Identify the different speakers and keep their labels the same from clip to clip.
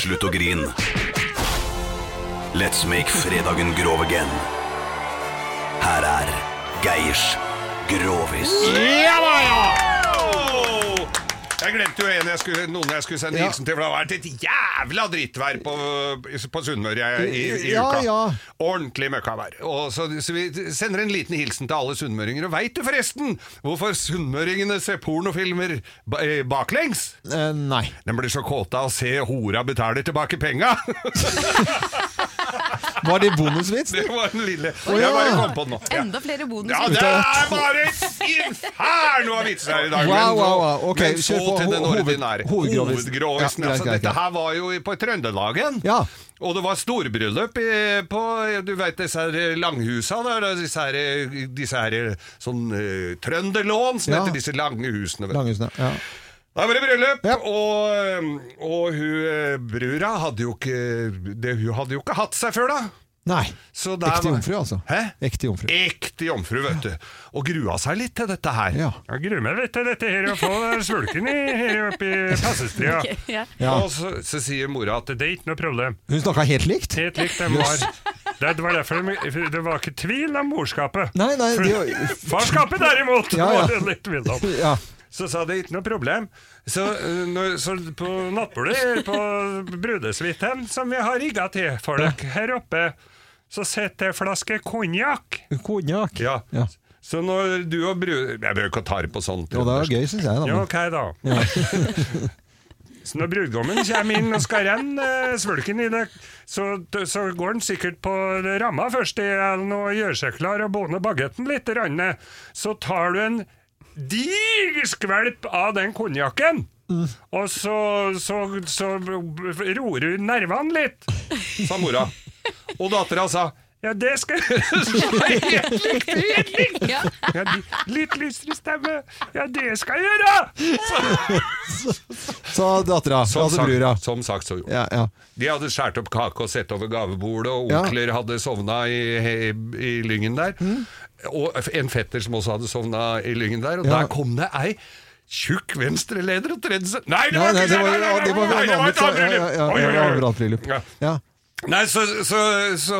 Speaker 1: Slutt å grin. Let's make fredagen grov again. Her er Geirs Grovis.
Speaker 2: Ja da, ja! Jeg glemte jo en jeg skulle, noen jeg skulle sende
Speaker 3: Ja.
Speaker 2: hilsen til, for det har vært et jævla drittvær på, på Sunnmøre i, i, i
Speaker 3: Ja,
Speaker 2: uka.
Speaker 3: ja.
Speaker 2: Ordentlig møkkavær. Og Så, så vi sender en liten hilsen til alle sunnmøringer. Og veit du forresten hvorfor sunnmøringene ser pornofilmer ba- eh, baklengs?
Speaker 3: Eh, nei.
Speaker 2: De blir så kåte av å se hora betaler tilbake penga!
Speaker 3: Var det bonusvits?
Speaker 2: Det var den lille
Speaker 3: Å,
Speaker 2: Jeg
Speaker 3: ja.
Speaker 2: bare kom på den nå. Ja.
Speaker 4: Enda flere bonus.
Speaker 2: Ja, det er bare et inferno av vitser her i dag.
Speaker 3: Wow,
Speaker 2: men-
Speaker 3: wow, wow. Ok,
Speaker 2: men så
Speaker 3: kjør på.
Speaker 2: til den
Speaker 3: Ho- hoved-
Speaker 2: ordinære.
Speaker 3: hovedgrovis.
Speaker 2: Hovedgrovisen.
Speaker 3: Ja, greit,
Speaker 2: altså,
Speaker 3: greit,
Speaker 2: dette
Speaker 3: greit.
Speaker 2: her var jo i- på Trøndelagen.
Speaker 3: Ja.
Speaker 2: Og det var storbryllup i, på du vet, disse her langhusa, der, og disse her, disse her sånn eh, trønderlån som
Speaker 3: Ja.
Speaker 2: heter disse lange husene. vet du.
Speaker 3: Langhusene. Ja.
Speaker 2: Da var det bryllup,
Speaker 3: Ja.
Speaker 2: og, og hun eh, brura hadde jo ikke det, Hun hadde jo ikke hatt seg før, da.
Speaker 3: Nei.
Speaker 2: Så der
Speaker 3: Ekte
Speaker 2: var-
Speaker 3: jomfru, altså.
Speaker 2: Hæ?
Speaker 3: Ekte jomfru.
Speaker 2: Ekte jomfru, vet du. Og grua seg litt til dette her.
Speaker 3: Ja.
Speaker 2: Jeg gruer meg litt til dette her, å få svulken i, oppi passestria.
Speaker 4: Ja.
Speaker 3: Ja.
Speaker 2: Og så, så sier mora at det er ikke noe problem.
Speaker 3: Hun snakka helt likt.
Speaker 2: Helt likt dem var. Det, det var derfor de, for det var ikke tvil om morskapet.
Speaker 3: Nei, nei, det
Speaker 2: Farskapet derimot
Speaker 3: Ja, ja.
Speaker 2: var det litt tvil om.
Speaker 3: Ja.
Speaker 2: Så sa det ikke noe problem. Så, eh, når, så på nattbordet her på brudesuiten som vi har rigga til for dere her oppe, så sitter det ei flaske konjakk.
Speaker 3: Konjakk.
Speaker 2: Ja.
Speaker 3: Ja.
Speaker 2: Så når du og bru... Jeg behøver ikke å ta det på sånt.
Speaker 3: Jo, det er gøy, syns jeg. Da.
Speaker 2: Ja, ok, da. så når brudgommen kommer inn og skal renne eh, svulken i det, så, så går han sikkert på ramma først i hælen og gjør seg klar og båner bagetten litt. Ranne. Så tar du en diger skvelp av den konjakken. Og så, så, så roer du nervene litt, sa mora. Og dattera sa ja, det skal jeg gjøre.
Speaker 4: Ja.
Speaker 2: Ja, de- litt lysere stemme. Ja, det skal jeg gjøre!
Speaker 3: Sa dattera. Altså brura.
Speaker 2: som sagt, så gjorde
Speaker 3: Ja, ja.
Speaker 2: De hadde skåret opp kake og sett over gavebordet, og
Speaker 3: Ja.
Speaker 2: onkler hadde sovna i, i, i lyngen der.
Speaker 3: Mm.
Speaker 2: Og en fetter som også hadde sovna i lyngen der, og
Speaker 3: Ja.
Speaker 2: der kom det ei tjukk venstreleder og tredde seg Nei, det
Speaker 3: Nei,
Speaker 2: var ikke
Speaker 3: nei, det var
Speaker 2: nei, nei, nei,
Speaker 3: det var
Speaker 2: nei,
Speaker 3: en
Speaker 2: det var
Speaker 3: annen
Speaker 2: et annet
Speaker 3: ja, ja,
Speaker 2: bryllup. Oi, oi,
Speaker 3: ja, ja, det var
Speaker 2: oi.
Speaker 3: et annet bryllup.
Speaker 2: Ja.
Speaker 3: Ja.
Speaker 2: Nei, så, så, så,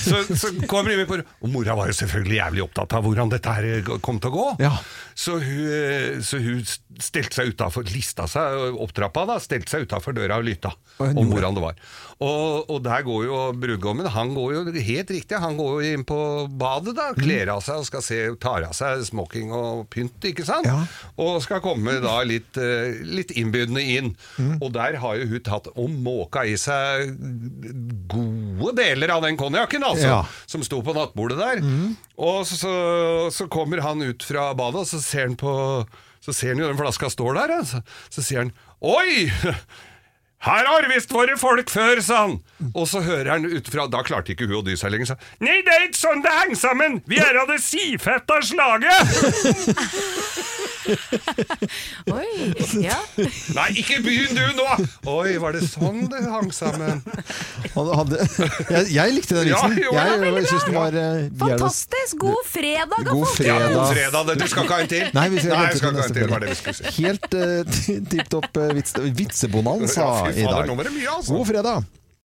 Speaker 2: så, så kommer de med på Og mora var jo selvfølgelig jævlig opptatt av hvordan dette her kom til å gå.
Speaker 3: Ja.
Speaker 2: Så, hun, eh, så hun stelte seg utafor lista seg opp trappa, da, stelte seg utafor døra og lytta
Speaker 3: Og hun
Speaker 2: om
Speaker 3: gjorde
Speaker 2: hvordan det var. Og, og der går jo brudgommen Han går jo helt riktig, han går jo inn på badet, da,
Speaker 3: Mm.
Speaker 2: kler av seg og skal se, tar av seg smoking og pynt, ikke sant?
Speaker 3: Ja.
Speaker 2: Og skal komme da litt, eh, litt innbydende inn.
Speaker 3: Mm.
Speaker 2: Og der har jo hun tatt og måka i seg gode deler av den konjakken, altså,
Speaker 3: Ja.
Speaker 2: som sto på nattbordet der.
Speaker 3: Mhm.
Speaker 2: Og så, så, så kommer han ut fra badet, og så ser han på Så ser han jo den flaska står der, ja. så, så sier han Oi! Her har visst vært folk før, sa han. Og så hører han utenfra, da klarte ikke hun å dy seg lenger, sa han, Nei, det er ikke sånn det henger sammen! Vi er av det sifetta slaget!
Speaker 4: Oi. Ja.
Speaker 2: Nei, ikke begynn du nå! Oi, var det sånn det hang sammen?
Speaker 3: Han hadde, jeg, jeg likte den
Speaker 2: Ja,
Speaker 3: vitsen.
Speaker 2: jo, ja,
Speaker 3: jeg
Speaker 2: veldig
Speaker 3: jeg syns den
Speaker 2: bra.
Speaker 3: var eh, jævla-
Speaker 4: Fantastisk! God fredag, da,
Speaker 3: God
Speaker 4: folkens!
Speaker 2: Ja,
Speaker 3: fredag.
Speaker 2: god fredag. det- Du skal ikke ha en til?
Speaker 3: Nei, vi skal vente
Speaker 2: vi skal ikke ha en
Speaker 3: til neste
Speaker 2: til. var
Speaker 3: fredag.
Speaker 2: det vi skulle si.
Speaker 3: Helt uh, tipp topp vits, vitsebonanza
Speaker 2: Ja, fy
Speaker 3: i
Speaker 2: fader,
Speaker 3: dag.
Speaker 2: nå var det mye, altså.
Speaker 3: God fredag.